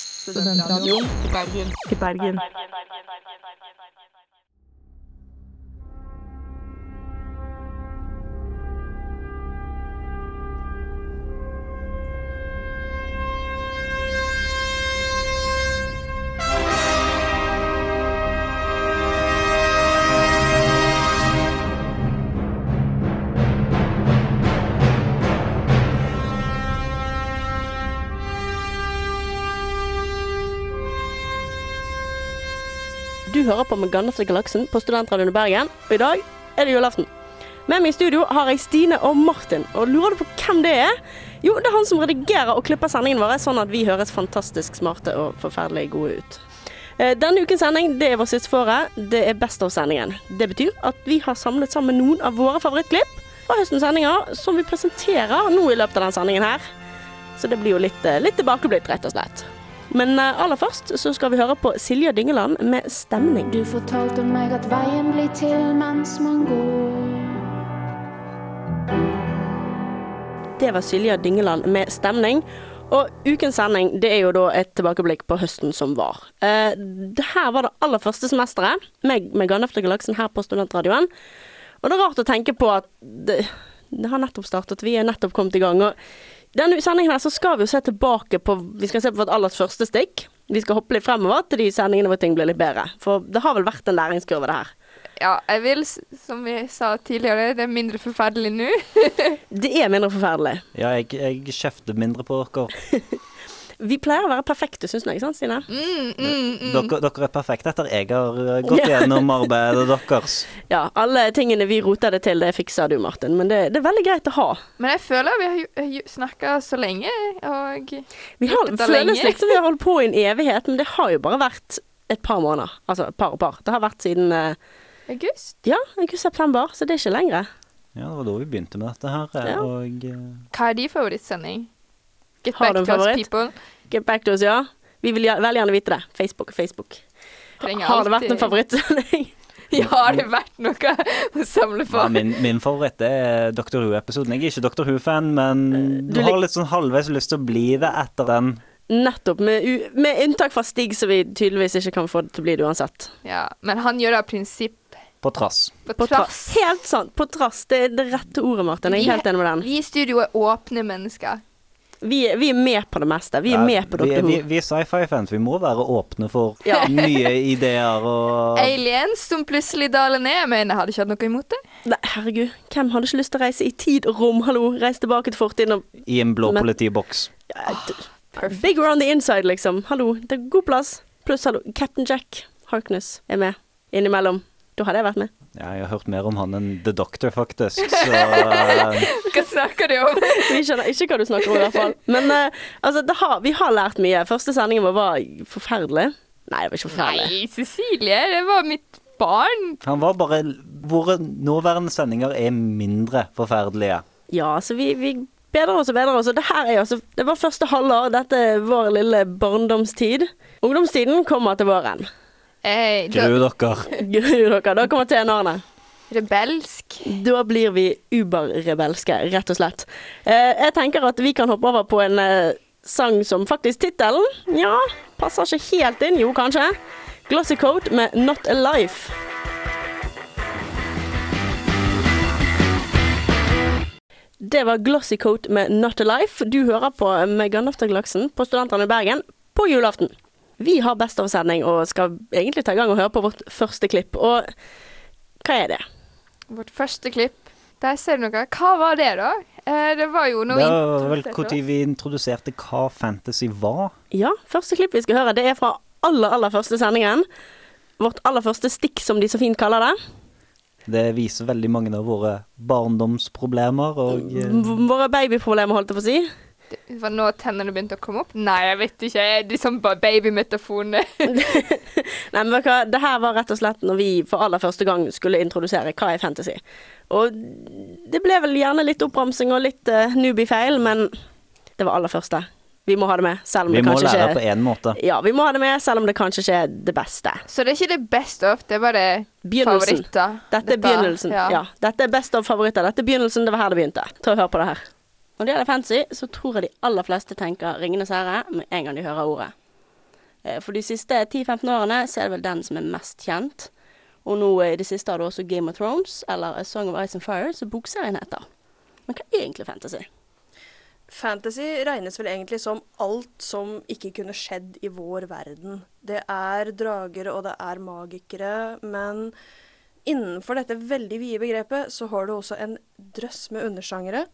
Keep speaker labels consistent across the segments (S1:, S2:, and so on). S1: Studentradioen i Bergen. I Bergen.
S2: Du hører på med Gunners og Galaksen på Studentradioen i Bergen, og i dag er det julaften. Med meg i studio har jeg Stine og Martin, og lurer du på hvem det er? Jo, det er han som redigerer og klipper sendingen vår, sånn at vi høres fantastisk smarte og forferdelig gode ut. Eh, Denne ukens sending det er vår siste for året. Det er Best of-sendingen. Det betyr at vi har samlet sammen noen av våre favorittklipp fra høstens sendinger, som vi presenterer nå i løpet av denne sendingen her. Så det blir jo litt, eh, litt tilbakeblitt, rett og slett. Men eh, aller først så skal vi høre på Silje Dyngeland med 'Stemning'.
S3: Du fortalte meg at veien blir til mens man går.
S2: Det var Silje Dyngeland med stemning. Og ukens sending det er jo da et tilbakeblikk på høsten som var. Eh, det her var det aller første semesteret med, med Gandalf og Galaksen her på Studentradioen. Og det er rart å tenke på at det, det har nettopp startet, vi er nettopp kommet i gang. Og denne sendingen her så skal vi jo se tilbake på Vi skal se på vårt aller første stikk. Vi skal hoppe litt fremover til de sendingene hvor ting blir litt bedre. For det har vel vært en læringskurve, det her.
S4: Ja, jeg vil, s- som vi sa tidligere, det er mindre forferdelig nå.
S2: Det er mindre forferdelig.
S5: Ja, jeg, jeg kjefter mindre på dere.
S2: Vi pleier å være perfekte, syns jeg, sant Stine?
S5: Dere, dere er perfekte etter jeg har eh, gått gjennom arbeidet deres.
S2: Ja, alle tingene vi roter det til, det fikser du, Martin. Men det, det er veldig greit å ha.
S4: Men jeg føler vi har snakka så lenge, og
S2: Vi har,
S4: Gjort det
S2: føles
S4: lenge.
S2: liksom vi har holdt på i en evighet, men det har jo bare vært et par måneder. Altså et par og par. Det har vært siden eh,
S4: august
S2: ja, august-september, så det er ikke lengre.
S5: Ja, det var da vi begynte med dette her. eh,
S2: Ja.
S5: Og eh,
S4: Hva er din favorittsending? Get
S2: Har du
S4: back
S2: en
S4: to us,
S2: favoritt?
S4: people.
S2: Get back to us, ja. Vi vil gjer- veldig gjerne vite det. Facebook, Facebook.
S4: Trenger
S2: Har det vært
S4: alltid-
S2: en favorittsending?
S4: Ja, har det vært noe å samle på?
S5: ja, min, min favoritt det er Dr. Who-episoden. Jeg er ikke Dr. Who-fan, men
S2: Eh, du
S5: du har
S2: lik-
S5: litt sånn halvveis lyst til å bli det etter den.
S2: Nettopp. Med, u med unntak fra Stig, som vi tydeligvis ikke kan få det til å bli det uansett.
S4: Ja, men han gjør det av prinsipp.
S5: På trass.
S4: På,
S2: På trass.
S4: trass.
S2: Helt sant. På trass. Det er det rette ordet, Martin. Jeg
S4: Vi-
S2: er helt enig med den.
S4: Vi i studio er åpne mennesker.
S2: Vi, er- vi er med på det meste. Vi er
S5: Ja,
S2: med på
S5: vi,
S2: Dr.
S5: vi,
S2: Who.
S5: vi er sci-fi-fans. Vi må være åpne for
S2: Ja.
S5: nye ideer og
S4: Aliens som plutselig daler ned, men jeg hadde ikke hatt noe imot det.
S2: Nei, herregud. Hvem hadde ikke lyst til å reise i tid og rom? Hallo, reise tilbake til fortiden og
S5: i en blå
S2: Men-
S5: politiboks.
S2: ja,
S5: Ah.
S2: d- Big around the inside, liksom. Hallo, det er god plass. Pluss, hallo, Captain Jack Harkness er med innimellom. Da hadde jeg vært med.
S5: Ja, jeg har hørt mer om han enn The Doctor, faktisk. Så eh,
S4: Hva snakker du om?
S2: Vi skjønner ikke hva du snakker om, i hvert fall. Men eh, altså, det har, vi har lært mye. Første sendingen vår var forferdelig. Nei, det var ikke forferdelig.
S4: Nei, Cecilie, det var mitt barn.
S5: han var bare Våre nåværende sendinger er mindre forferdelige.
S2: Ja, så vi, vi bedrer oss og bedrer oss. Og det her er altså Det var første halvår. Dette er vår lille barndomstid. Ungdomstiden kommer til våren.
S4: Eh, da-
S5: Gru dere.
S2: Gru dere, da kommer tenårene.
S4: Rebelsk.
S2: Da blir vi uberrebelske, rett og slett. Eh, jeg tenker at vi kan hoppe over på en eh, sang som faktisk tittelen Ja, passer ikke helt inn. Jo, kanskje. Glossy Coat med 'Not Alive'. Det var Glossy Coat med 'Not Alive'. Du hører på Megan Afterglaksen på Studentene i Bergen på julaften. Vi har Best of-sending og skal egentlig ta i gang og høre på vårt første klipp. Og hva er det?
S4: Vårt første klipp. Der ser du noe. Hva var det, da? Eh, det var jo noe
S5: Det var vel
S4: introdusert, da.
S5: når vi introduserte hva fantasy var.
S2: Ja, første klipp vi skal høre, det er fra aller, aller første sendingen. Vårt aller første stikk, som de så fint kaller det.
S5: Det viser veldig mange av våre barndomsproblemer og
S2: Mm.
S5: eh,
S2: V- Våre babyproblemer, holdt jeg på å si.
S4: Det var nå tennene begynte å komme opp? Nei, jeg vet ikke. Det er sånn bare babymetaforene.
S2: Nei, men vet du hva, det her var rett og slett når vi for aller første gang skulle introdusere hva er fantasy. Og det ble vel gjerne litt oppramsing og litt eh, newbie-feil, men det var aller første. Vi må ha det med, selv om
S5: Vi
S2: det
S5: må
S2: kanskje
S5: lære på
S2: ikke
S5: én måte.
S2: Ja, vi må ha det med, selv om det kanskje ikke er det beste.
S4: Så det er ikke det best of, det er bare
S2: Begynnelsen.
S4: favoritter.
S2: Dette er begynnelsen. Ja. Dette er best av favoritter. Dette er begynnelsen, det var her det begynte. Ta og Hør på det her. Når det gjelder fancy, så tror jeg de aller fleste tenker 'Ringenes herre' med en gang de hører ordet. Eh, For de siste 10-15 årene så er det vel den som er mest kjent. Og nå eh, i det siste har du også Game of Thrones, eller A Song of Ice and Fire, som bokserien heter. Men hva er egentlig fantasy?
S6: Fantasy regnes vel egentlig som alt som ikke kunne skjedd i vår verden. Det er drager og det er magikere, men innenfor dette veldig vide begrepet så har du også en drøss med undersjangere.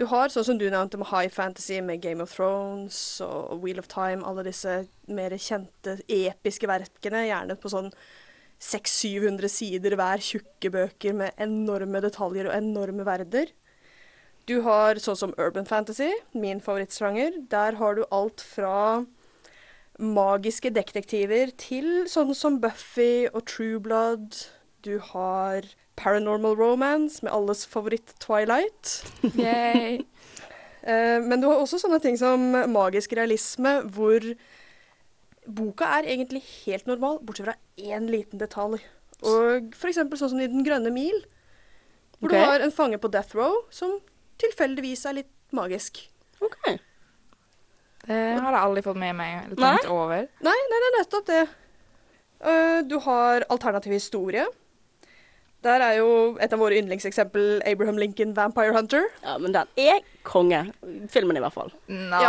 S6: Du har sånn som du nevnte med high fantasy, med Game of Thrones og Wheel of Time, alle disse mer kjente episke verkene, gjerne på sånn 600-700 sider hver, tjukke bøker med enorme detaljer og enorme verder. Du har sånn som urban fantasy, min favorittsjanger. Der har du alt fra magiske detektiver til sånn som Buffy og True Blood. Du har paranormal romance med alles favoritt Twilight.
S4: Yay.
S6: Eh, men du har også sånne ting som magisk realisme, hvor boka er egentlig helt normal, bortsett fra én liten detalj. Og for eksempel sånn som i Den grønne mil,
S2: Ok.
S6: hvor du har en fange på death row som tilfeldigvis er litt magisk.
S2: Ok.
S4: Det har jeg aldri fått med meg eller
S2: Nei?
S4: tenkt over.
S6: Nei, nei, det er nettopp det. Eh, du har alternativ historie. Der er jo et av våre yndlingseksempel Abraham Lincoln Vampire Hunter.
S2: Ja, men den er konge. Filmen i hvert fall.
S4: Nå.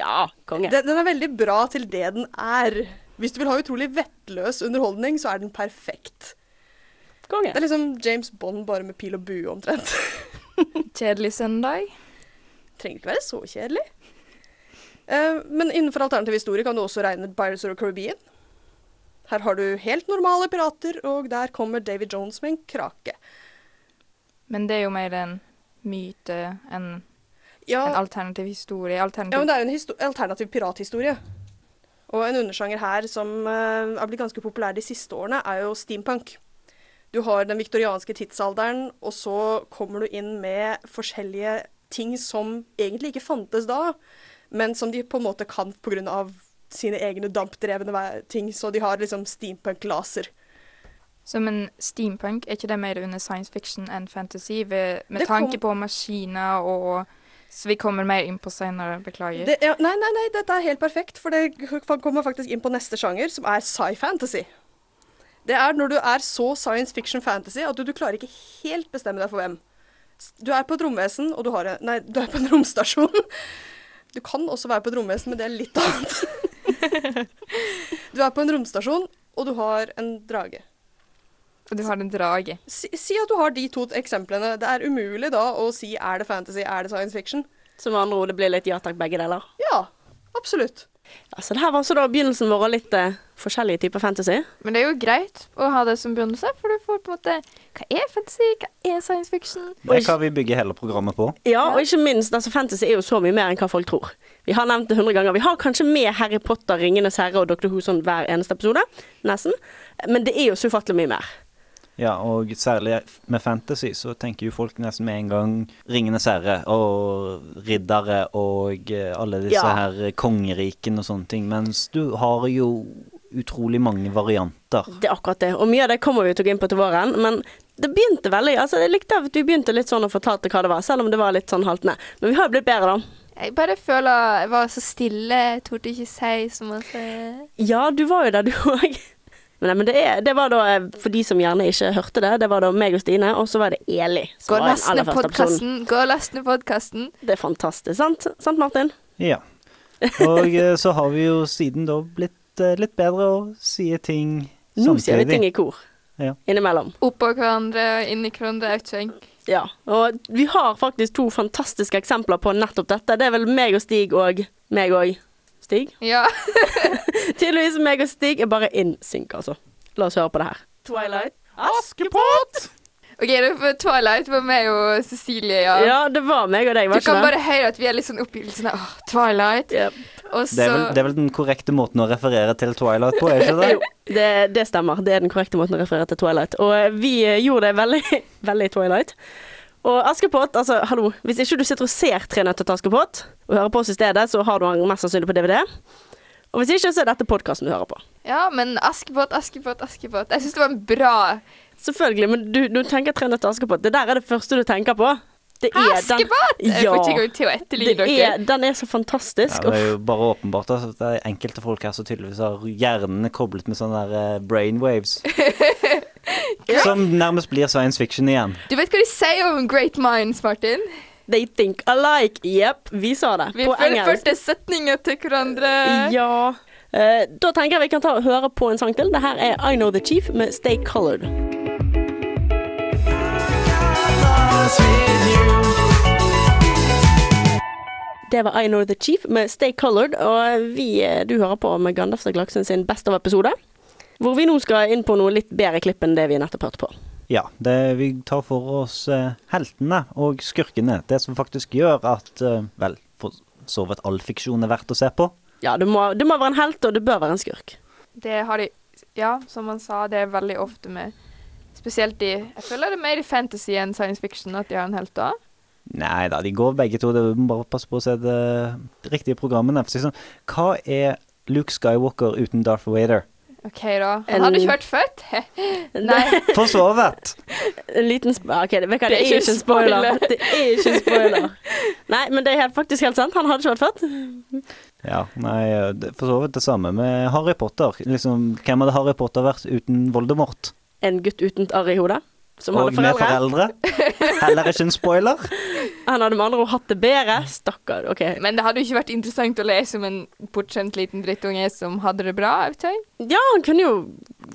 S2: Ja, konge.
S6: Den, den er veldig bra til det den er. Hvis du vil ha utrolig vettløs underholdning, så er den perfekt.
S2: konge.
S6: Det er liksom James Bond bare med pil og bue, omtrent.
S4: Kjedelig søndag.
S6: Trenger ikke være så kjedelig. Eh, men innenfor alternativ historie kan du også regne Pirates of the Caribbean. Her har du helt normale pirater, og der kommer Davy Jones med en krake.
S4: Men det er jo mer en myte enn
S6: Ja,
S4: en alternativ historie.
S6: Ja, men
S4: Alternativ
S6: det er jo en histo- alternativ pirathistorie. Og en undersjanger her som eh, er blitt ganske populær de siste årene, er jo steampunk. Du har den viktorianske tidsalderen, og så kommer du inn med forskjellige ting som egentlig ikke fantes da, men som de på en måte kan pga. sine egne dampdrevne ve- ting. Så de har liksom steampunk-laser.
S4: Som en steampunk, er ikke det mer under science fiction enn fantasy? Ved, med
S6: Det kom-
S4: tanke på maskiner og Så vi kommer mer inn på senere, beklager.
S6: Det, ja, nei, nei, nei, dette er helt perfekt, for det kommer faktisk inn på neste sjanger, som er sci-fantasy. Det er når du er så science fiction fantasy at du, du klarer ikke helt bestemme deg for hvem. S- Du er på et romvesen, og du har en Nei, du er på en romstasjon. Du kan også være på et romvesen, men det er litt annet. Du er på en romstasjon, og du har en drage.
S4: Og du har en drage.
S6: Si, si at du har de to eksemplene. Det er umulig da å si er det fantasy, er det science fiction.
S2: Som med andre ord, det blir litt ja takk, begge deler.
S6: Ja, absolutt.
S2: Ja, så det her var altså da begynnelsen vår av litt eh, forskjellige typer fantasy.
S4: Men det er jo greit å ha det som begynnelse, for du får på en måte Hva er fantasy? Hva er science fiction?
S5: Det er hva vi bygger hele programmet på.
S2: Ja, og ikke minst, altså fantasy er jo så mye mer enn hva folk tror. Vi har nevnt det 100 ganger. Vi har kanskje med Harry Potter, Ringenes herre og Dr. Who sånn hver eneste episode, nesten. Men det er jo så ufattelig mye mer.
S5: Ja, og særlig med fantasy så tenker jo folk nesten med en gang Ringenes herre og riddere og eh, alle disse
S2: Ja.
S5: her kongerikene og sånne ting. Mens du har jo utrolig mange varianter.
S2: Det er akkurat det. Og mye av det kommer vi jo til å gå inn på til våren, men det begynte veldig Altså, jeg likte at vi begynte litt sånn og fortalte hva det var, selv om det var litt sånn haltende. Men vi har jo blitt bedre, da.
S4: Jeg bare føler jeg var så stille, jeg torde ikke si så masse.
S2: Ja, du var jo der, du òg. Men, nei, men det, er, det var da, eh, for de som gjerne ikke hørte det, det var da meg og Stine, og så var det Eli. Som
S4: Gå og
S2: var
S4: last
S2: den aller
S4: ned
S2: første episoden.
S4: podkasten! Gå og last ned podkasten!
S2: Det er fantastisk, sant? Sant, Martin?
S5: Ja. Og eh, så har vi jo siden da blitt eh, litt bedre og sier ting
S2: Nå sier vi ting
S5: samtidig.
S2: i kor.
S5: Ja.
S2: Innimellom.
S4: Oppå hverandre, inni hverandre, jeg vet ikke.
S2: Ja. Og vi har faktisk to fantastiske eksempler på nettopp dette. Det er vel meg og Stig og meg og Stig?
S4: Ja.
S2: Tydeligvis meg og Stig er bare in sync, altså. La oss høre på det her. Twilight.
S5: Askepott!
S4: OK, det var Twilight var meg og Cecilie, ja.
S2: Ja, det var meg og deg,
S4: Du
S2: var ikke
S4: kan
S2: det?
S4: bare høre at vi er litt sånn oppgitt sånn Åh, Twilight.
S2: Ja.
S4: Og
S5: Det er, vel, det
S4: så
S5: er vel den korrekte måten å referere til Twilight på, er ikke det?
S2: Jo, det, det stemmer. Det er den korrekte måten å referere til Twilight. Og eh, vi eh, gjorde det veldig, veldig Twilight. Og Askepott, altså hallo, hvis ikke du sitter og ser Tre nøtter til Askepott og hører på oss i stedet, så har du den mest sannsynlig på DVD. Og hvis ikke, så er dette podkasten du hører på.
S4: Ja, men Askepott, Askepott, Askepott. Jeg syns det var en bra
S2: Selvfølgelig, men du, du tenker Tre nøtter til Askepott. Det der er det første du tenker på. Det er den
S4: Askepott! Jeg
S2: Ja.
S4: får ikke engang til å etterligne
S2: det
S4: dere.
S2: er, den er så fantastisk.
S5: Ja, det er
S2: Uff.
S5: jo bare åpenbart altså, at det er enkelte folk her som tydeligvis har hjernene koblet med sånne der eh, brainwaves. Som nærmest blir science fiction igjen.
S4: Du vet hva de sier om great minds, Martin?
S2: They think alike. Jepp, vi sa det.
S4: Vi
S2: på engelsk.
S4: fullførte setninger til hverandre.
S2: Ja. Eh, da tenker jeg vi kan ta og høre på en sang til. Det her er I Know The Chief med Stay Colored. Det var I Know The Chief med Stay Colored, og vi, eh, du hører på med Gandalf og Glaksen sin Best of-episode. Hvor vi nå skal inn på noe litt bedre klipp enn det vi nettopp hørte på.
S5: Ja, det, vi tar for oss eh, heltene og skurkene. Det som faktisk gjør at eh, Vel, for så vidt all fiksjon er verdt å se på.
S2: Ja, det må, det må være en helt, og det bør være en skurk.
S4: Det har de Ja, som han sa, det er veldig ofte med Spesielt i Jeg føler det er mer i fantasy enn science fiction at de har en helt da.
S5: Nei da, de går begge to. Det må bare passe på å se det riktige programmene. For å si sånn, hva er Luke Skywalker uten Darth Vader?
S4: OK, da.
S2: En-
S4: Han hadde ikke vært født. Nei.
S5: For så vidt!
S2: En liten sp ah, OK, det, vet du hva, det er ikke en spoiler. Det er ikke en spoiler. Nei, men det er helt, faktisk helt sant. Han hadde ikke vært født.
S5: Ja, nei, eh, det- for så vidt det samme med Harry Potter. Liksom, hvem hadde Harry Potter vært uten Voldemort?
S2: En gutt uten et arr i hodet. Som
S5: Og
S2: hadde
S5: med
S2: foreldre.
S5: foreldre? Heller ikke en spoiler.
S2: Han hadde med andre ord hatt det bedre. Stakkar. OK.
S4: Men det hadde jo ikke vært interessant å lese om en bortskjemt liten drittunge som hadde det bra. Jeg vet ikke.
S2: Ja, han kunne jo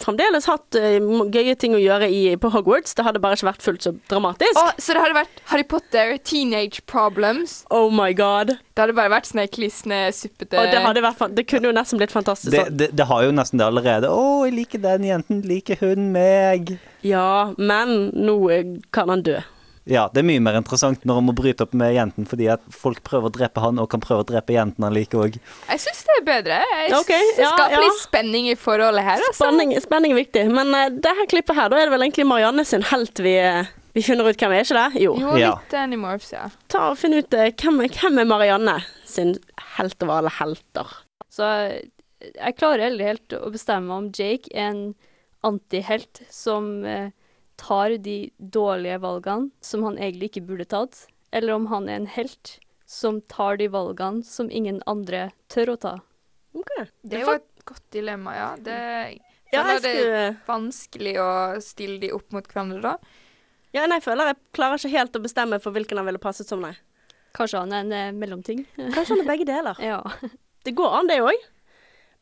S2: fremdeles hatt eh, m- gøye ting å gjøre i, på Hogwarts. Det hadde bare ikke vært fullt så dramatisk.
S4: Å, så det hadde vært Harry Potter, teenage problems.
S2: Oh my god.
S4: Det hadde bare vært sånn ei klisne, suppete
S2: Og det, hadde vært, fan- det kunne jo nesten blitt fantastisk.
S5: Det,
S2: sånn.
S5: det, det har jo nesten det allerede. 'Å, jeg liker den jenten. Liker hun meg?'
S2: Ja, men nå eh, kan han dø.
S5: Ja, det er mye mer interessant når han må bryte opp med jenten fordi at folk prøver å drepe han, og kan prøve å drepe jenten han liker òg.
S4: Jeg syns det er bedre. Jeg
S2: Ok,
S4: synes det
S2: ja,
S4: skaper
S2: ja.
S4: litt spenning i forholdet her. Altså.
S2: Spenning, spenning er viktig. Men eh, det her klippet her, da er det vel egentlig Marianne sin helt vi, eh, vi finner ut hvem er, ikke det? Jo.
S4: Jo,
S5: Ja.
S4: litt Animorphs, ja.
S2: Ta og Finn ut eh, hvem, hvem er Marianne sin helt over alle helter.
S7: Så jeg klarer aldri helt å bestemme om Jake er en antihelt som eh, tar de dårlige valgene som han egentlig ikke burde tatt, eller om han er en helt som tar de valgene som ingen andre tør å ta.
S4: Det er jo et godt dilemma, ja. Det,
S2: Ja,
S4: føler
S2: jeg
S4: det
S2: skulle
S4: er vanskelig å stille de opp mot hverandre, da.
S2: Ja, nei, jeg føler jeg klarer ikke helt å bestemme for hvilken han ville passet som, nei.
S7: Kanskje han er en eh, mellomting?
S2: Kanskje han er begge deler.
S7: ja.
S2: Det går an, det òg.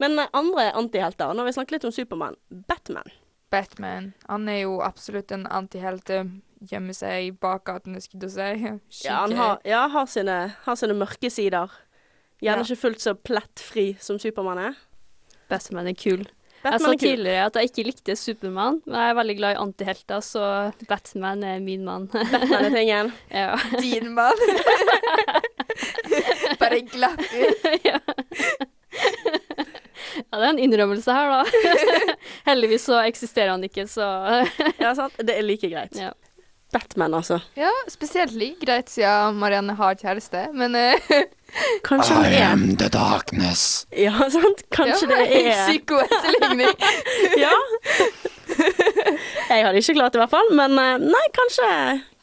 S2: Men eh, andre antihelter Nå har vi snakket litt om Supermann. Batman.
S4: Batman. Han er jo absolutt en antihelt. eh, Gjemmer seg bak gatene, skulle jeg til å si.
S2: Ja, han
S4: Skikkelig.
S2: har, ja, har, sine, har sine mørke sider. Gjerne
S4: Ja.
S2: ikke fullt så plettfri som Supermann er.
S7: Batman er kul. jeg sa
S2: Batman er kul.
S7: tidligere at jeg ikke likte Supermann, men jeg er veldig glad i antihelter, så Batman er min mann.
S2: Batman er tingen.
S7: ja.
S4: Din mann. Bare glapp ut.
S7: ja, det er en innrømmelse her, da. Heldigvis så eksisterer han ikke, så
S2: Ja, sant? Det er like greit.
S7: ja.
S2: Batman, altså.
S4: Ja, spesielt like greit siden Marianne har kjæreste, men eh,
S2: Kanskje han er
S5: the darkness.
S2: Ja, sant? Kanskje
S4: ja,
S2: det
S4: en
S2: er
S4: Psykoetterligning.
S2: Ja. Jeg hadde ikke klart det, i hvert fall. Men eh, nei, kanskje,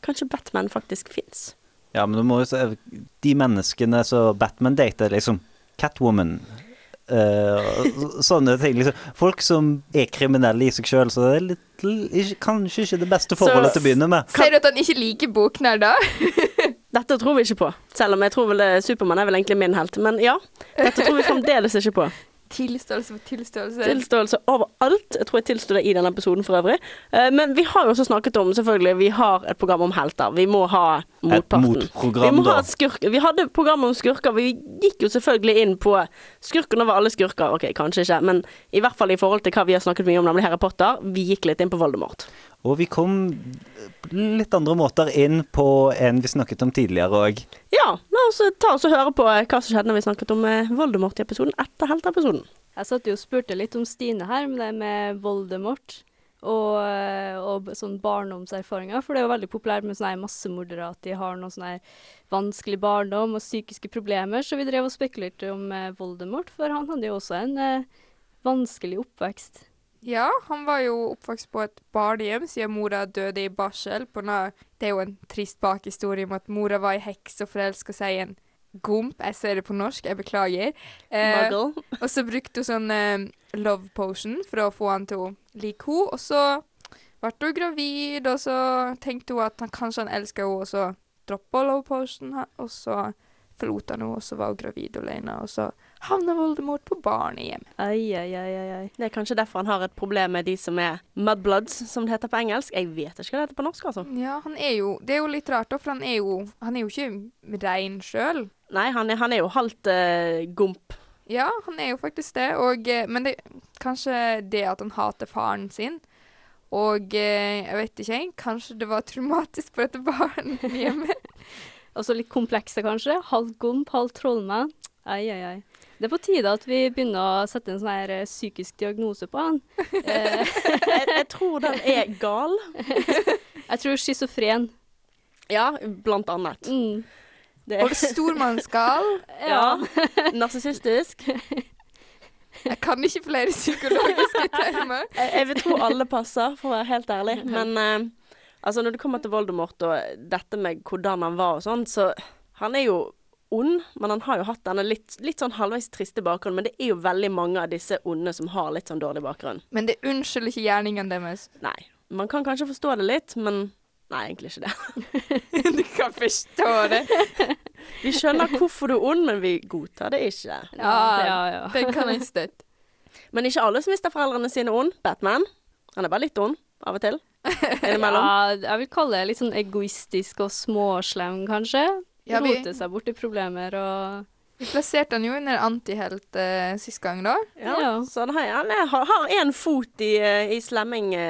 S2: kanskje Batman faktisk fins.
S5: Ja, men du må jo se De menneskene som Batman dater, liksom Catwoman eh, og sånne ting. Liksom. Folk som er kriminelle i seg sjøl, så det er litt, ikke, kanskje ikke det beste forholdet til å begynne med.
S4: Ser du at han ikke liker boknerder?
S2: Dette tror vi ikke på, selv om jeg tror vel eh, Supermann er vel egentlig min helt. Men ja, dette tror vi fremdeles ikke på.
S4: Tilståelse for tilståelse.
S2: Tilståelse overalt. Jeg tror jeg tilsto det i denne episoden for øvrig. Eh, Men vi har jo også snakket om, selvfølgelig, vi har et program om helter. Vi må ha motparten.
S5: motprogram,
S2: vi må ha
S5: da.
S2: et skurk. Vi hadde et program om skurker. Vi gikk jo selvfølgelig inn på skurkene over alle skurker. Ok, kanskje ikke, men i hvert fall i forhold til hva vi har snakket mye om, nemlig Harry Potter. Vi gikk litt inn på Voldemort.
S5: Og vi kom litt andre måter inn på en vi snakket om tidligere òg.
S2: Ja, la oss eh, ta oss og høre på hva som skjedde når vi snakket om eh, Voldemort i episoden etter helteepisoden.
S7: Jeg satt jo og spurte litt om Stine her, med det med Voldemort og, og b- sånn barndomserfaringer. For det er jo veldig populært med sånne her massemordere, at de har noen sånne her vanskelig barndom og psykiske problemer. Så vi drev og spekulerte om eh, Voldemort, for han hadde jo også en eh, vanskelig oppvekst.
S4: Ja, han var jo oppvokst på et barnehjem siden mora døde i barsel. På na- det er jo en trist bakhistorie om at mora var ei heks og forelska seg i en gomp. Jeg ser det på norsk, jeg beklager. Eh,
S2: Muggle.
S4: og så brukte hun sånn eh, love potion for å få han til å like henne. Og så ble hun gravid, og så tenkte hun at han, kanskje han elska henne, og så droppa love potion, ha- og så forlot han henne, og så var hun gravid alene, og så havna Voldemort på barnehjemmet.
S7: Ai, ai, ai, ai, ai.
S2: Det er kanskje derfor han har et problem med de som er mudbloods, som det heter på engelsk. Jeg vet ikke hva det heter på norsk, altså.
S4: Ja, han er jo Det er jo litt rart, da, for han er jo, han er jo ikke rein sjøl.
S2: Nei, han er, han er jo halvt eh, gomp.
S4: Ja, han er jo faktisk det, og, eh, men det, kanskje det at han hater faren sin, og eh, jeg vet ikke, kanskje det var traumatisk for dette barnehjemmet.
S7: Og så litt komplekse, kanskje. Halv gomp, halv trollmann. Ai, ai, ai. Det er på tide at vi begynner å sette en sånn her eh, psykisk diagnose på han. Eh,
S2: Jeg, jeg tror den er gal.
S7: jeg tror schizofren.
S2: Ja, blant annet.
S7: Mm.
S2: Det
S4: Og
S2: er
S4: stormannsgal.
S2: ja. narsissistisk.
S4: Jeg kan ikke flere psykologiske termer.
S2: Jeg, jeg vil tro alle passer, for å være helt ærlig. Men eh, altså, når det kommer til Voldemort og dette med hvordan han var og sånn, så han er jo ond, men han har jo hatt denne litt, litt sånn halvveis triste bakgrunnen. Men det er jo veldig mange av disse onde som har litt sånn dårlig bakgrunn.
S4: Men det unnskylder ikke gjerningene deres.
S2: Nei. Man kan kanskje forstå det litt, men nei, egentlig ikke det.
S4: Du kan forstå det.
S2: Vi skjønner hvorfor du er ond, men vi godtar det ikke.
S7: Ja, ja, ja.
S4: Det kan jeg støtte.
S2: Men ikke alle som mister foreldrene sine ond. Batman. Han er bare litt ond av og til. Innimellom.
S7: Ja, jeg vil kalle det litt sånn egoistisk og småslem, kanskje.
S4: Ja, vi,
S7: Rote seg bort i problemer og
S4: vi plasserte han jo under antihelt uh, sist gang, da.
S2: Ja.
S7: Ja.
S2: Så han har- han er- har- har én fot i, eh, i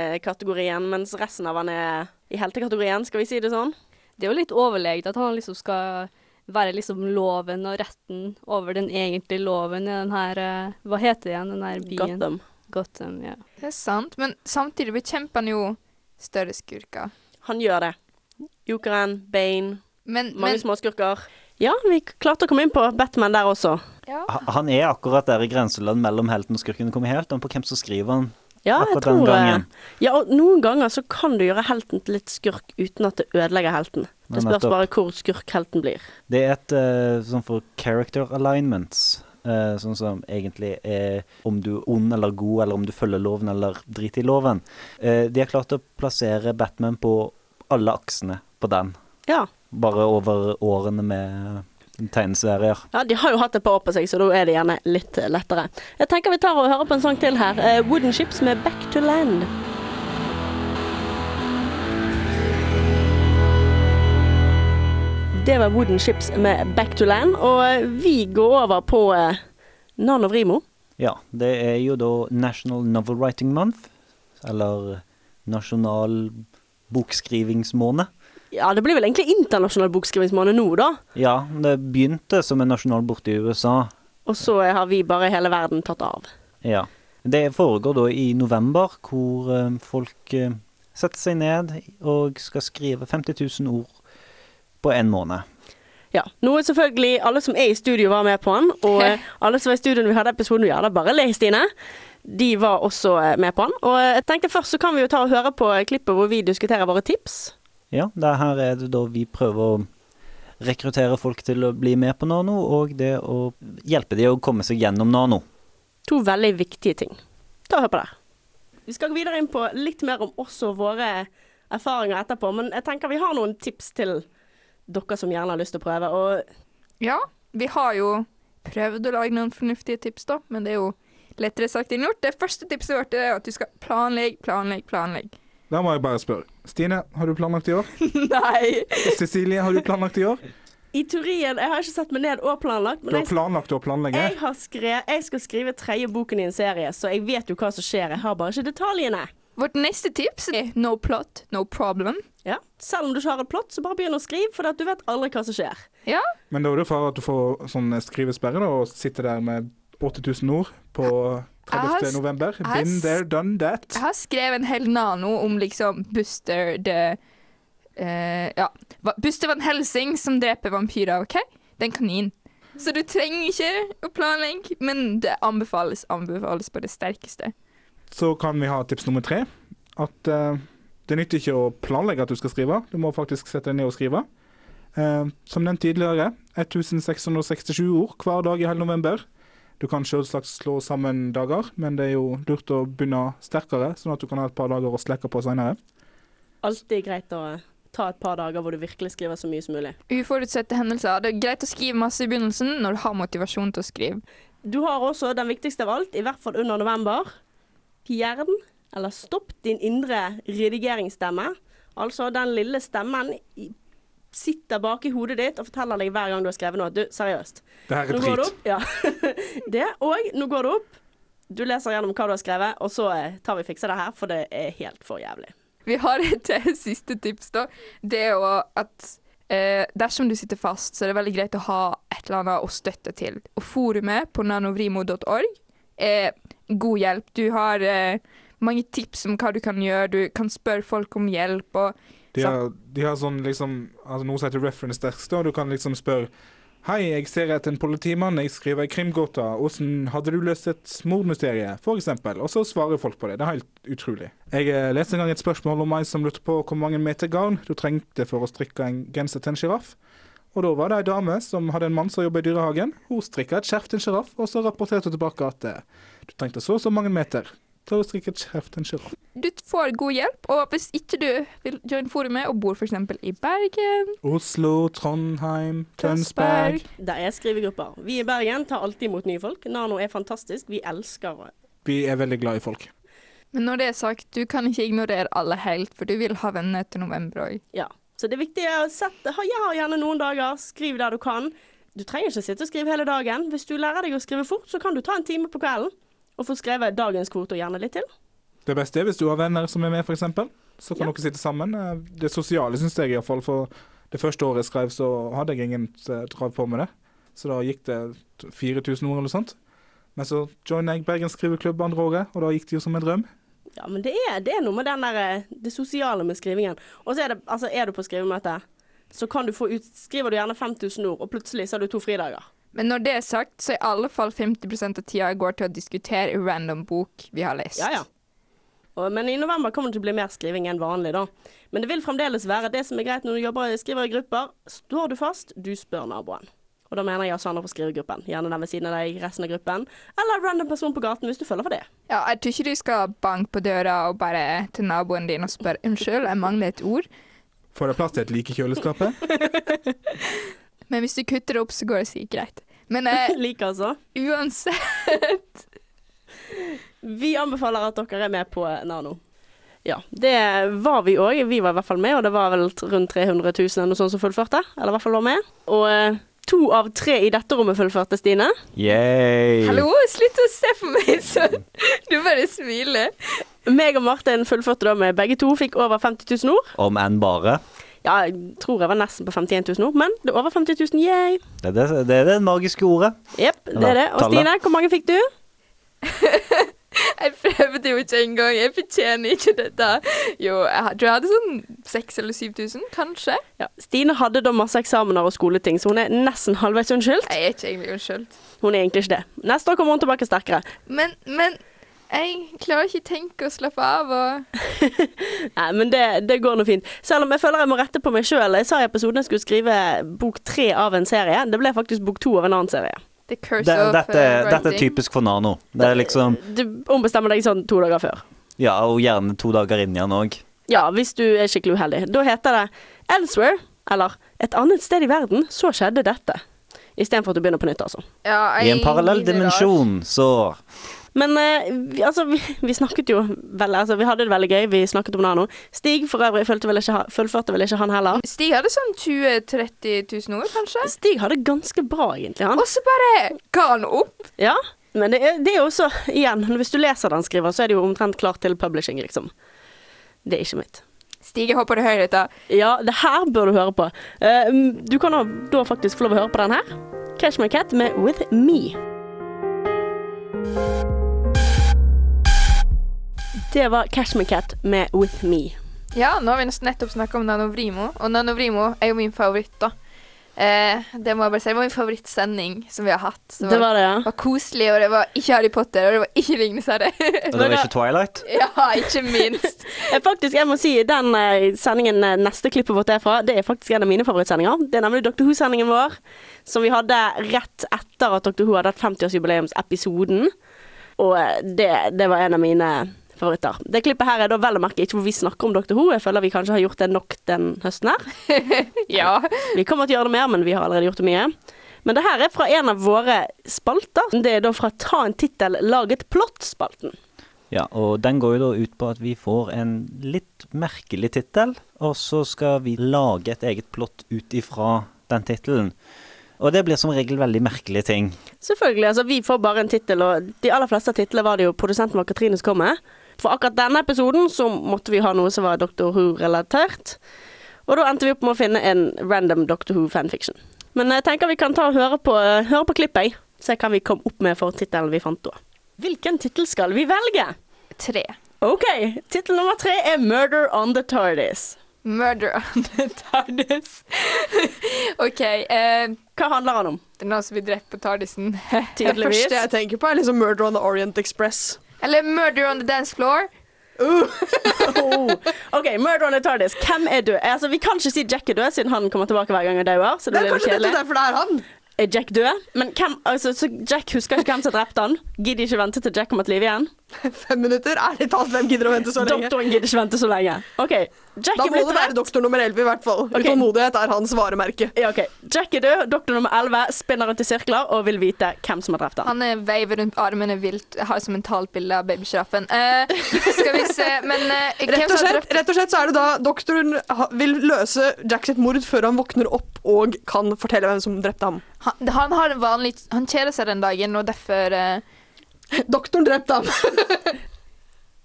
S2: slemming-kategorien, mens resten av han er i heltekategorien, skal vi si det sånn.
S7: Det er jo litt overlegent at han liksom skal være liksom loven og retten over den egentlige loven i den her eh, Hva heter det igjen, den her byen?
S2: Gotham.
S7: Gotham, ja.
S4: Det er sant, men samtidig bekjemper han jo større skurker.
S2: Han gjør det. Jokeren, Bane,
S4: Men,
S2: mange
S4: men
S2: småskurker. Ja, vi klarte å komme inn på Batman der også.
S4: ja.
S5: Ha- Han er akkurat der i grenseland mellom helten og skurken. Det kommer helt an på hvem som skriver han.
S2: Ja, jeg
S5: Akkurat den
S2: tror eh,
S5: gangen.
S2: Ja, og noen ganger så kan du gjøre helten til litt skurk uten at det ødelegger helten. Det
S5: Nei,
S2: spørs bare hvor skurkhelten blir.
S5: Det er et eh, sånn for character alignments. eh, sånn som egentlig er om du er ond eller god, eller om du følger loven eller driter i loven. Eh, de har klart å plassere Batman på alle aksene på den,
S2: Ja.
S5: bare over årene med tegneserier.
S2: Ja, De har jo hatt et par år på seg, så da er det gjerne litt eh, lettere. Jeg tenker vi tar og hører på en sang til her. Eh, Wooden Ships med 'Back to Land'. Det var Wooden Ships med 'Back to Land', og eh, vi går over på eh, Nan og Vrimo.
S5: Ja, det er jo da National Novel Writing Month, eller nasjonal bokskrivingsmåned.
S2: Ja, det blir vel egentlig internasjonal bokskrivingsmåned nå, da.
S5: Ja, det begynte som en nasjonal borte i USA.
S2: Og så eh, har vi bare hele verden tatt av.
S5: Ja. Det foregår da i november, hvor eh, folk eh, setter seg ned og skal skrive 50 000 ord på en måned.
S2: Ja, Noe selvfølgelig alle som er i studio, var med på den. Og eh, alle som var i studio når vi hadde episoden vi hadde Bare le, Stine. De var også eh, med på den. Og eh, jeg tenkte først så kan vi jo ta og høre på eh, klippet hvor vi diskuterer våre tips.
S5: Ja, det her er det da vi prøver å rekruttere folk til å bli med på Nano, og det å hjelpe dem å komme seg gjennom Nano.
S2: To veldig viktige ting. Ta og hør på det. Vi skal gå videre inn på litt mer om oss og våre erfaringer etterpå, men jeg tenker vi har noen tips til dere som gjerne har lyst til å prøve. Og
S4: ja, vi har jo prøvd å lage noen fornuftige tips, da, men det er jo lettere sagt enn gjort. Det første tipset vårt er at du skal planlegge, planlegge, planlegge.
S8: Da må jeg bare spørre. Stine, har du planlagt i år?
S4: Nei.
S8: Cecilie, har du planlagt i år?
S2: i teorien Jeg har ikke satt meg ned og planlagt,
S8: Du har
S2: men jeg,
S8: planlagt å planlegge?
S2: jeg, har skre- jeg skal skrive tredje boken i en serie, så jeg vet jo hva som skjer. Jeg har bare ikke detaljene.
S4: Vårt neste tips er no plot, no problem.
S2: Ja. Selv om du ikke har et plott, så bare begynn å skrive, for at du vet aldri hva som skjer.
S4: Ja,
S8: Men da er det for at du får sånn skrivesperre da, og sitter der med 8000 ord på
S4: Jeg har-
S8: 30. november.
S4: jeg har-
S8: Been there, done that.
S4: jeg har skrevet en hel nano om liksom Buster the eh, Ja, Va- Buster Van Helsing som dreper vampyrer, OK? Det er en kanin. Så du trenger ikke å planlegge, men det anbefales, anbefales på det sterkeste.
S8: så kan vi ha tips nummer tre. At eh, det nytter ikke å planlegge at du skal skrive, du må faktisk sette deg ned og skrive. Eh, som nevnt tidligere, 1667 ord hver dag i hele november. Du kan selvsagt slå sammen dager, men det er jo lurt å begynne sterkere, sånn at du kan ha et par dager å slekke på seinere.
S2: Alltid greit å ta et par dager hvor du virkelig skriver så mye som mulig.
S4: Uforutsette hendelser. Det er greit å skrive masse i begynnelsen når du har motivasjon til å skrive.
S2: Du har også den viktigste av alt, i hvert fall under november. Fjern eller stopp din indre redigeringsstemme. Altså den lille stemmen i- sitter bak i hodet ditt og forteller deg hver gang du har skrevet noe. Du, seriøst.
S8: Det her
S2: Nå
S8: er
S2: går det
S8: drit.
S2: opp. Ja. Det, og nå går det opp. Du leser gjennom hva du har skrevet, og så eh, tar vi fikser det her, for det er helt for jævlig.
S4: Vi har et eh, siste tips, da. Det er jo at eh, dersom du sitter fast, så er det veldig greit å ha et eller annet å støtte til. Og forumet på nanovrimo.org er god hjelp. Du har eh, mange tips om hva du kan gjøre. Du kan spørre folk om hjelp. og
S8: De har, de har sånn liksom altså Noe som heter reference desk, da. Du kan liksom spørre Hei, jeg ser etter en politimann. Jeg skriver ei krimgåte. Åssen hadde du løst et mordmysterie, for eksempel? Og så svarer folk på det. Det er helt utrolig. Jeg eh, leste en gang et spørsmål om ei som lurte på hvor mange meter garn du trengte for å strikke en genser til en sjiraff. Og da var det ei dame som hadde en mann som jobba i dyrehagen. Hun strikka et skjerf til en sjiraff, og så rapporterte hun tilbake at eh, du trengte så og så mange meter til å strikke et skjerf til en sjiraff.
S4: Du får god hjelp, og hvis ikke du vil join forumet og bor f.eks. i Bergen
S8: Oslo, Trondheim, Tønsberg.
S2: Det er skrivegrupper. Vi i Bergen tar alltid imot nye folk. Nano er fantastisk. Vi elsker
S8: Vi er veldig glad i folk.
S4: Men når det er sagt, du kan ikke ignorere alle helt, for du vil ha venner til november òg.
S2: Ja. Så det viktige er å sette ha, ja, gjerne noen dager, skriv der du kan. Du trenger ikke sitte og skrive hele dagen. Hvis du lærer deg å skrive fort, så kan du ta en time på kvelden og få skrevet dagens kvote og gjerne litt til.
S8: Det beste er hvis du har venner som er med, f.eks. Så kan dere sitte sammen. Eh, Det sosiale syns jeg iallfall. For det første året jeg skrev, så hadde jeg ingen eh, trav på med det. Så da gikk det 4000 ord eller noe sånt. Men så joina jeg Bergen skriveklubb andre året, og da gikk det jo som en drøm.
S2: Ja, men det er, det er noe med den der, eh, det sosiale med skrivingen. Og så er det, altså er du på skrivemøte, så kan du få ut, skriver du gjerne 5000 ord, og plutselig så har du to fridager.
S4: Men når det er sagt, så i alle fall 50 av tida går til å diskutere en random bok vi har lest.
S2: Ja, ja. Og, men i november kommer det til å bli mer skriving enn vanlig, da. Men det vil fremdeles være det som er greit når du jobber, skriver i grupper. Står du fast, du spør naboen. Og da mener jeg altså andre på skrivegruppen. Gjerne den ved siden av deg, i resten av gruppen. Eller en random person på gaten hvis du føler for det.
S4: Ja, jeg tror ikke du skal banke på døra og bare til naboen din og spørre unnskyld, jeg mangler et ord.
S8: Får det plass til et like i kjøleskapet?
S4: Men hvis du kutter det opp, så går det sikkert greit. Men eh,
S2: Like, altså.
S4: uansett
S2: Vi anbefaler at dere er med på Nano. Ja, det var vi òg. Vi var i hvert fall med, og det var vel t- rundt 300 000 eller noe sånt som fullførte. Eller i hvert fall var med. Og eh, to av tre i dette rommet fullførte, Stine.
S5: Yay!
S4: Hallo, slutt å se på meg sånn! Du bare smiler.
S2: Meg og Martin fullførte da med begge to, fikk over 50 000 ord.
S5: Om enn bare.
S2: Ja, jeg tror jeg var nesten på 51 000 nå, men det er over 50 000. Yay!
S5: Det er det, det, er det magiske ordet.
S2: Jepp, det er det. Og
S5: Tallet.
S2: Stine, hvor mange fikk du?
S4: Jeg prøvde jo ikke engang. Jeg fortjener ikke dette. Jo, jeg tror jeg hadde sånn 6000 eller 7000, kanskje.
S2: Ja. Stine hadde da masse eksamener og skoleting, så hun er nesten halvveis unnskyldt.
S4: Jeg er ikke egentlig unnskyldt.
S2: Hun er egentlig ikke det. Neste år kommer hun tilbake sterkere.
S4: Men, men jeg klarer ikke tenke og slappe av og
S2: Nei, men det, det går nå fint. Selv om jeg føler jeg må rette på meg sjøl. Jeg sa i episoden jeg skulle skrive bok tre av en serie. Det ble faktisk bok to av en annen serie.
S4: The curse
S5: Det,
S4: of
S5: dette,
S4: uh,
S5: dette
S4: writing.
S5: er typisk for Nano. Det er liksom
S2: Du ombestemmer deg sånn to dager før.
S5: Ja, og gjerne to dager inn igjen òg.
S2: Ja, hvis du er skikkelig uheldig. Da heter det 'Elsewhere', eller 'Et annet sted i verden, så skjedde dette'. Istedenfor at du begynner på nytt, altså.
S4: Ja,
S5: I en
S4: jeg
S5: parallell
S4: lider
S5: dimensjon, så
S2: Men eh, vi, altså, vi, vi snakket jo veldig altså, Vi hadde det veldig gøy, vi snakket om Nano. Stig for øvrig fulgte vel ikke, ha- fullførte vel ikke han heller.
S4: rart. Stig hadde sånn 20 000-30 000 ord, kanskje.
S2: Stig hadde ganske bra, egentlig, han.
S4: Og så bare ga han opp.
S2: Ja, Men det er, det er jo også, igjen, hvis du leser det han skriver, så er det jo omtrent klart til publishing, liksom. Det er ikke mitt.
S4: Stig, jeg håper du hører dette.
S2: Ja, det her bør du høre på. Eh, mm, du kan da- da faktisk få lov å høre på den her. Catch My Cat med With Me. Det var Catch My Cat med With Me.
S4: Ja, nå har vi nesten nettopp snakka om Nanovrimo, og Nanovrimo er jo min favoritt, da.
S9: Eh, det må jeg bare si. Det var min favorittsending som vi har hatt. Så
S2: Det var det, ja.
S9: det var koselig, og det var ikke Harry Potter, og det var ikke Ringenes herre.
S5: Og det var ikke Twilight?
S9: ja, ikke minst.
S2: Eh, Faktisk, jeg må si Den eh, sendingen eh, neste klippet vårt er fra, det er faktisk en av mine favorittsendinger. Det er nemlig Dr. Who-sendingen vår, som vi hadde rett etter at Dr. Who hadde hatt 50-årsjubileumsepisoden. Og eh, det, det var en av mine favoritter. Det klippet her er da vel å merke ikke hvor vi snakker om Dr. Who. Jeg føler vi kanskje har gjort det nok den høsten her.
S9: Ja.
S2: Vi kommer til å gjøre det mer, men vi har allerede gjort det mye. Men det her er fra en av våre spalter. Det er da fra Ta en tittel, lag et plott-spalten.
S5: Ja, og den går jo da ut på at vi får en litt merkelig tittel, og så skal vi lage et eget plott ut ifra den tittelen. Og det blir som regel veldig merkelige ting.
S2: Selvfølgelig. altså Vi får bare en tittel, og de aller fleste titlene var det jo produsenten vår Katrine som kom med. For akkurat denne episoden så måtte vi ha noe som var Doctor Who-relatert. Og da endte vi opp med å finne en random Doctor Who-fanfiction. Men jeg tenker vi kan ta og høre på, eh, høre på klippet, jeg. se hva vi kom opp med for tittelen vi fant da. Hvilken tittel skal vi velge?
S9: Tre.
S2: OK, tittel nummer tre er 'Murder on the Tardis'.
S9: Murder on the TARDIS. OK. Eh,
S2: Hva handler han om?
S9: det er noen som blir drept på Tardisen.
S2: Tydeligvis.
S6: Det første jeg tenker på, er liksom Murder on the Orient Express.
S9: Eller Murder on the Dance Floor.
S2: Oh. OK, Murder on the Tardis. Hvem er død? Altså, vi kan ikke si Jack er død, siden han kommer tilbake hver gang og dauer. Så det
S6: Det er
S2: blir litt
S6: kanskje
S2: kjedelig.
S6: dette derfor det er han.
S2: Er Jack død? Men hvem, altså, så Jack husker ikke hvem som drepte han. Gidder ikke vente til Jack kommer til liv igjen.
S6: Fem minutter? Ærlig talt, hvem gidder å vente så lenge?
S2: Doktoren gidder ikke vente så lenge. OK, Jack
S6: Da
S2: er
S6: må
S2: blitt
S6: det være
S2: drept.
S6: doktor nummer 11 i hvert fall. Utålmodighet er hans varemerke.
S2: Ja, ok. Jack er død, doktor nummer 11 spinner rundt i sirkler og vil vite hvem som har drept han.
S9: Han eh, veiver rundt armene vilt. Jeg har som mentalt bilde av babysjiraffen. Eh, skal vi se Men eh, hvem
S6: Rett og,
S9: som
S6: slett,
S9: har drept
S6: rett og slett så er det da doktoren ha- vil løse Jack sitt mord før han våkner opp og kan fortelle hvem som drepte ham.
S9: han, han har en vanlig Han kjeder seg den dagen, og derfor eh,
S6: Doktoren drepte ham!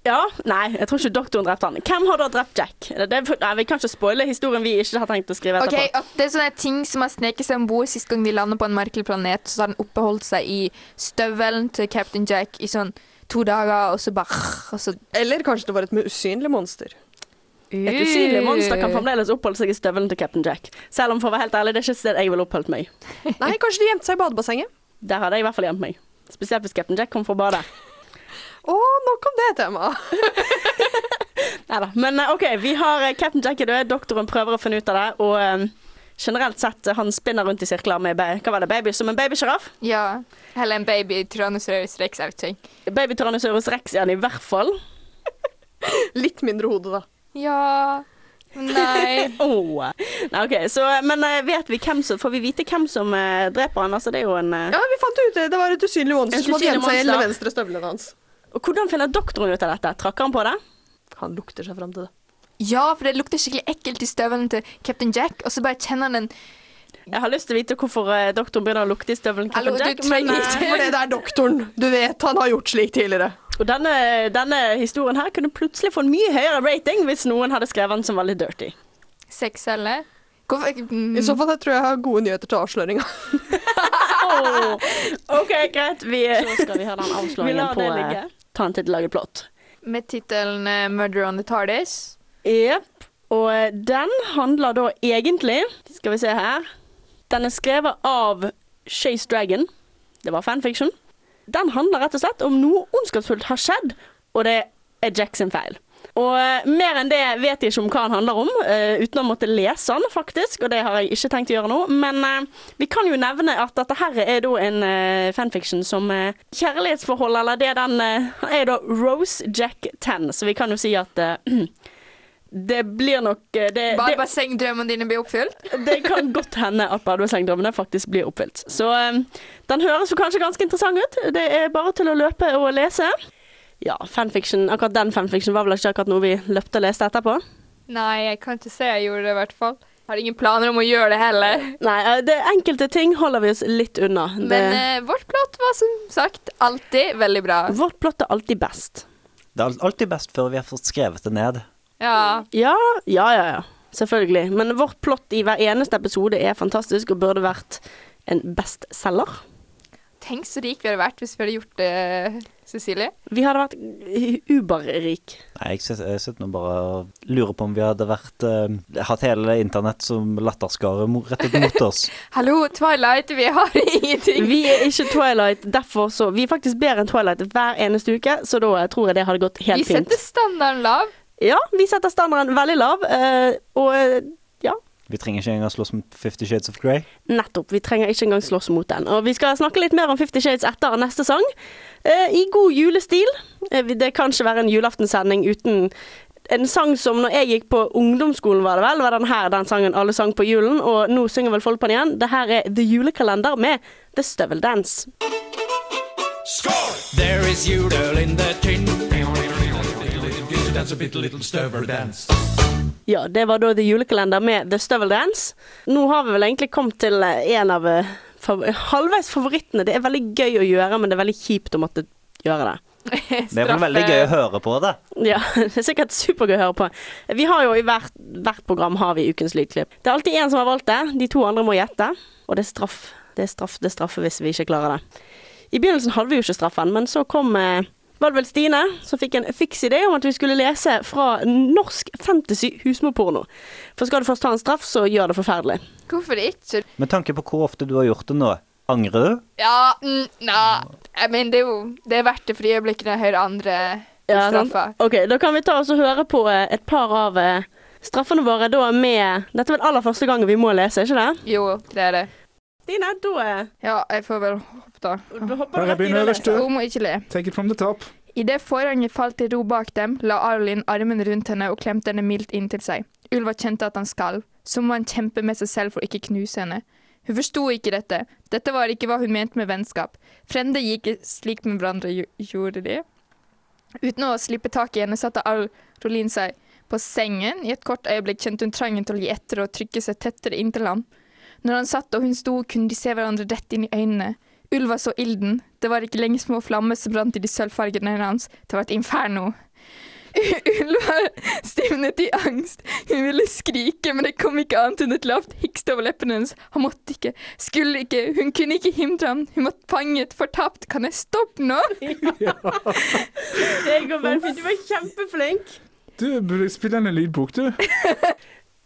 S2: Ja, Nei, jeg tror ikke doktoren drepte han. Hvem har da drept Jack? Er Det det, nei, vi kan ikke spoile historien vi ikke har tenkt å skrive
S9: Ok,
S2: etterpå.
S9: at Det er sånne ting som har sneket seg om bord sist gang de landet på en merkelig planet. Så har den oppholdt seg i støvelen til Captain Jack i sånn to dager, og så bare og så,
S6: Eller kanskje det var et usynlig monster.
S2: Et usynlig monster kan fremdeles oppholde seg i støvelen til Captain Jack. Selv om for å være helt ærlig, det er ikke et sted jeg ville oppholdt meg.
S6: Nei, kanskje de gjemte seg i badebassenget.
S2: Der hadde jeg i hvert fall gjemt meg. Spesielt hvis Captain Jack kom fra badet.
S6: Å, nok om det temaet.
S2: Neida. Men eh, OK, vi har eh, Captain Jack er død, doktoren prøver å finne ut av det, og eh, generelt sett, eh, han spinner rundt i sirkler med ba- hva var det, baby, som en babysjiraff.
S9: Ja. Eller en baby tyrannosaurus rex. jeg vet ikke.
S2: Babytyrannosaurus rex er han i hvert fall.
S6: Litt mindre hode, da.
S9: Ja Nei.
S2: Åh. Nei, OK, så eh, Men eh, vet vi hvem som Får vi vite hvem som eh, dreper han? Altså, det er jo en eh,
S6: Ja, vi fant ut det. Det var et usynlig monster
S2: Et
S6: som hadde
S2: usynlig
S6: gjemt seg i den
S2: monster.
S6: venstre støvelen hans.
S2: Og Hvordan finner doktoren ut av dette? Trakker han på det?
S6: Han lukter seg fram til det.
S9: Ja, for det lukter skikkelig ekkelt i støvelen til Captain Jack, og så bare kjenner han en
S2: Jeg har lyst til å vite hvorfor eh, doktoren begynner å lukte i støvelen. til
S9: Hallo,
S2: Captain
S9: du
S2: Jack,
S9: trenger
S2: men, eh,
S9: ikke-
S6: Fordi det er doktoren. Du vet han har gjort slik tidligere.
S2: Og denne, denne historien her kunne plutselig få en mye høyere rating hvis noen hadde skrevet den som var litt dirty.
S9: sexcelle. Hvorfor mm.
S6: I så fall jeg tror jeg har gode nyheter til avsløringa.
S2: Åh. OK, greit. Vi,
S10: Så skal vi ha den
S2: vi
S10: avsløringen
S2: lar
S10: på eh,
S2: det ligge. Ta en til laget plott.
S9: Med tittelen eh, 'Murder on the Tardis'.
S2: Jepp. Og eh, den handler da egentlig Skal vi se her. Den er skrevet av Chase Dragon. Det var fanfiction. Den handler rett og slett om noe ondskapsfullt har skjedd, og det er Jack sin feil. Og eh, mer enn det vet jeg ikke om hva han handler om, eh, uten å måtte lese han faktisk, og det har jeg ikke tenkt å gjøre nå. Men eh, vi kan jo nevne at dette her er da en eh, fanfiction som eh, kjærlighetsforhold, eller det den eh, er da Rose Jack 10, så vi kan jo si at eh, det blir nok eh, det, det,
S9: Badebassengdrømmene dine blir oppfylt.
S2: det kan godt hende at badebassengdrømmene faktisk blir oppfylt. Så eh, den høres jo kanskje ganske interessant ut. Det er bare til å løpe og lese. Ja, fanfiction, akkurat den fanfiction var vel ikke akkurat noe vi løpte og leste etterpå.
S9: Nei, jeg kan ikke se jeg gjorde det, i hvert fall. Har ingen planer om å gjøre det heller.
S2: Nei, eh, det enkelte ting holder vi oss litt unna. Det,
S9: Men eh, vårt plott var som sagt alltid veldig bra.
S2: vårt plott er alltid best.
S5: Det er al- alltid best før vi har fått skrevet det ned.
S9: Ja.
S2: Ja, ja, ja. ja. Selvfølgelig. Men vårt plott i hver eneste episode er fantastisk og burde vært en bestselger.
S4: Tenk så rik vi hadde vært hvis vi hadde gjort det, Cecilie.
S2: Vi hadde vært uberrik.
S5: Nei, jeg sitter, jeg sitter nå bare og lurer på om vi hadde vært eh, hatt hele internett som latterskare mo- rettet mot oss.
S4: Hallo, Twilight, vi har ingenting.
S2: Vi er ikke Twilight, derfor så Vi er faktisk bedre enn Twilight hver eneste uke, så da tror jeg det hadde gått
S4: Vi
S2: helt fint.
S4: setter standarden lav.
S2: Ja, vi setter standarden veldig lav, eh, og eh, ja.
S5: Vi trenger ikke engang slåss mot Fifty Shades of Grey.
S2: Nettopp. Vi trenger ikke engang slåss mot den. Og vi skal snakke litt mer om Fifty Shades etter neste sang. Eh, I god julestil. Eh, vi- det kan ikke være en julaftensending uten en sang som når jeg gikk på ungdomsskolen, var det vel, var den her den sangen alle sang på julen. Og nå synger vel folk på den igjen. Det her er The Julekalender med The Støveldance.
S11: There is jodel in the tin. Gutter danser bitte little støveldans.
S2: Ja, det var da The Julekalender med The Støveldance. Nå har vi vel egentlig kommet til eh, en av eh, fav halvveis favorittene. Det er veldig gøy å gjøre, men det er veldig kjipt å måtte gjøre det.
S5: Det er vel veldig gøy å høre på det.
S2: Ja, det er sikkert supergøy å høre på. Vi har jo i hvert, hvert program har vi ukens lydklipp. Det er alltid én som har valgt det, de to andre må gjette. Og det er straff. Det er straff, det er straffe hvis vi ikke klarer det. I begynnelsen hadde vi jo ikke straffen, men så kom eh, var det vel Stine som fikk en fiks idé om at vi skulle lese fra norsk fantasy husmorporno. For skal du først ta en straff, så gjør det forferdelig.
S4: Hvorfor ikke?
S5: Med tanke på hvor ofte du har gjort det nå, angrer du?
S4: Ja, mm, na. Jeg mener, det er jo det er verdt det for de øyeblikkene jeg hører andre
S2: Ja, sant?
S4: straffer.
S2: Ok, da kan vi ta oss og høre på eh, et par av eh, straffene våre da med Dette er vel aller første gangen vi må lese, ikke det?
S4: Jo, det er det.
S2: Stine, da eh,
S4: Ja, jeg får vel hoppe, da.
S2: Da hopper
S8: Bare
S2: du rett i
S8: begynn
S2: det.
S8: øverst, du.
S4: Hun må ikke le.
S8: Take it from the top.
S4: Idet forhenget falt i ro bak dem, la Arlin armen rundt henne og klemte henne mildt inntil seg. Ulva kjente at han skalv, som om han kjempet med seg selv for å ikke knuse henne. Hun forsto ikke dette. Dette var ikke hva hun mente med vennskap. Frender gikk slik med hverandre, jo- gjorde de. Uten å slippe tak i henne satte Arlin seg på sengen. I et kort øyeblikk kjente hun trangen til å gi etter og trykke seg tettere inntil ham. Når han satt og hun sto, kunne de se hverandre rett inn i øynene. Ulva så ilden. Det var ikke lenger små flammer som brant i de sølvfargede øynene hans. Det var et inferno. Ulva stivnet i angst. Hun ville skrike, men det kom ikke annet enn et lavt hikst over leppene hennes. Han måtte ikke, skulle ikke, hun kunne ikke hindre ham. Hun var fanget, fortapt. Kan jeg stoppe nå?
S2: Det går veldig fint. Du var kjempeflink.
S8: Du burde spille en lydbok, du.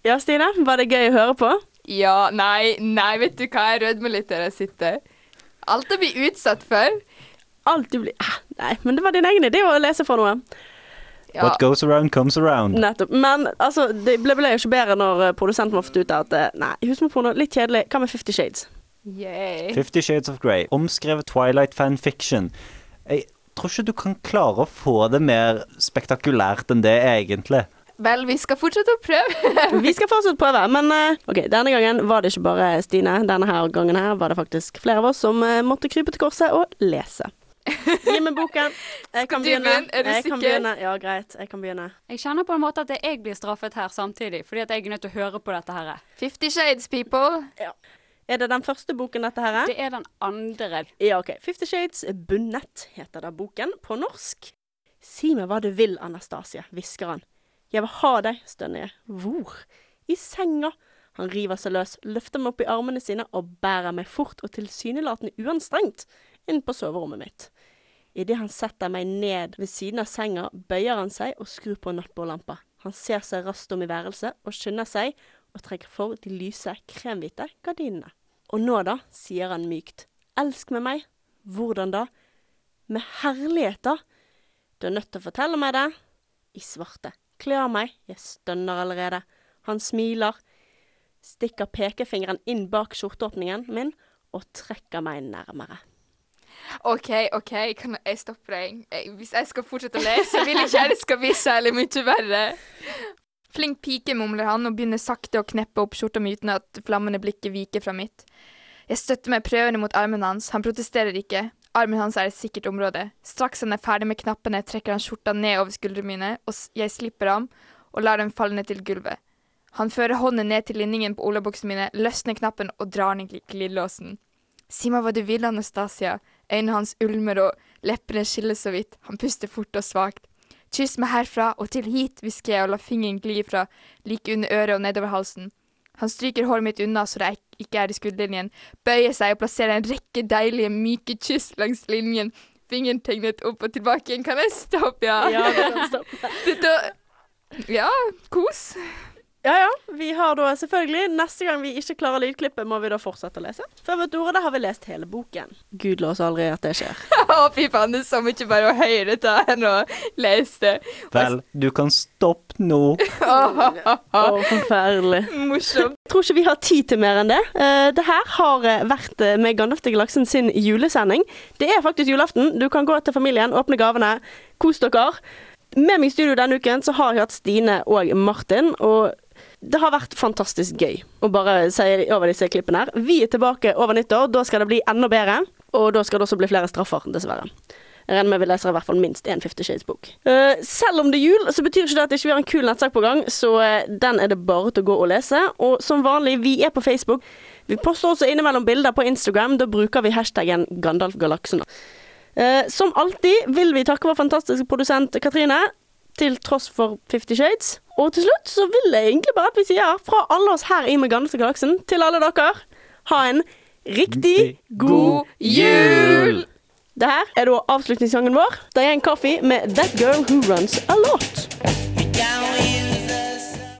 S2: Ja, Stine, var det gøy å høre på?
S4: Ja, nei, nei, vet du hva, jeg rødmer litt der jeg sitter. Alt jeg blir utsatt for.
S2: Alt du blir ah, Nei, men det var din egen idé å lese for noe.
S4: Ja,
S5: What goes around comes around.
S2: Nettopp. Men altså, det ble, ble jo ikke bedre når eh, produsenten vår fant ut at eh, Nei, husmorporno, litt kjedelig. Hva med Fifty Shades?
S4: yay.
S5: Fifty Shades of Grey, omskrevet Twilight fanfiction. Jeg tror ikke du kan klare å få det mer spektakulært enn det, egentlig.
S4: Vel, vi skal fortsette å prøve.
S2: Vi skal fortsatt prøve, men eh, OK, denne gangen var det ikke bare Stine. Denne her gangen her var det faktisk flere av oss som eh, måtte krype til korset og lese. Gi meg boken. Jeg kan
S4: du
S2: begynne.
S4: begynne? Er du
S2: jeg kan
S4: sikker?
S2: begynne. Ja, greit. Jeg kan begynne.
S7: Jeg kjenner på en måte at jeg blir straffet her samtidig, fordi at jeg er nødt til å høre på dette her.
S4: Fifty Shades, people.
S2: Er det den første boken, dette her? er?
S7: Det er den andre.
S2: Ja, OK. Fifty Shades Bunett heter da boken på norsk. Si meg hva du vil, Anastasia, hvisker han. Jeg vil ha deg, stønner jeg. Hvor? I senga. Han river seg løs, løfter meg opp i armene sine og bærer meg fort og tilsynelatende uanstrengt inn på soverommet mitt. Idet han setter meg ned ved siden av senga, bøyer han seg og skrur på nattbordlampa. Han ser seg raskt om i værelset og skynder seg og trekker for de lyse, kremhvite gardinene. Og nå da, sier han mykt. Elsk med meg. Hvordan da? Med herlighet, da. Du er nødt til å fortelle meg det. I svarte. Kle av meg. Jeg stønner allerede. Han smiler, stikker pekefingeren inn bak skjorteåpningen min og trekker meg nærmere.
S4: OK, OK, kan jeg stoppe deg? Jeg- Hvis jeg skal fortsette å lese, så vil jeg ikke at det skal bli særlig mye verre. Flink pike, mumler han og begynner sakte å kneppe opp skjorta mi uten at flammende blikket viker fra mitt. Jeg støtter meg prøvende mot armen hans, han protesterer ikke. Armen hans er et sikkert område. Straks han er ferdig med knappene, trekker han skjorta ned over skuldrene mine, og s- jeg slipper ham og lar den falle ned til gulvet. Han fører hånden ned til linningen på olabuksene mine, løsner knappen og drar ned gl- glidelåsen. Si meg hva du vil, Anastasia. Øynene hans ulmer, og leppene skiller så vidt. Han puster fort og svakt. Kyss meg herfra og til hit, hvisker jeg og lar fingeren gli fra like under øret og nedover halsen. Han stryker håret mitt unna så det ik- ikke er i skuddlinjen, bøyer seg og plasserer en rekke deilige, myke kyss langs linjen. Fingeren tegnet opp og tilbake igjen. Kan jeg stoppe, ja?
S2: Ja, det kan stoppe.
S4: Dette, ja, kos.
S2: ja, ja. Vi har da selvfølgelig Neste gang vi ikke klarer lydklippet, må vi da fortsette å lese. Før vi vet ordet, har vi lest hele boken. Gud la oss aldri at det skjer.
S4: Å, fy faen, det er så mye bare å høre dette enn å lese det.
S5: Vel, du kan stoppe nå.
S2: Å, forferdelig.
S4: Morsomt.
S2: Jeg tror ikke vi har tid til mer enn det. Eh, det her har eh, vært eh, med Gandalf til Galaksen sin julesending. Det er faktisk julaften. Du kan gå til familien, åpne gavene, kos dere. Med meg i studio denne uken så har jeg hatt Stine og Martin, og det har vært fantastisk gøy å bare si over disse klippene her. Vi er tilbake over nyttår. Da skal det bli enda bedre, og da skal det også bli flere straffer, dessverre. Jeg regner med vi leser i hvert fall minst én Fifty Shades-bok. Eh, selv om det er jul, så betyr ikke det at det ikke vi har en kul nettsak på gang, så eh, den er det bare til å gå og lese. Og som vanlig, vi er på Facebook. Vi poster også innimellom bilder på Instagram. Da bruker vi hashtaggen GandalfGalaksen. Eh, som alltid vil vi takke vår fantastiske produsent Katrine, til tross for Fifty Shades. Og til slutt så vil jeg egentlig bare at vi sier fra alle oss her i Med Gandalf og Galaksen til alle dere, ha en riktig god det her er da avslutningssangen vår. Det er en kaffe med That Girl Who Runs A Lot.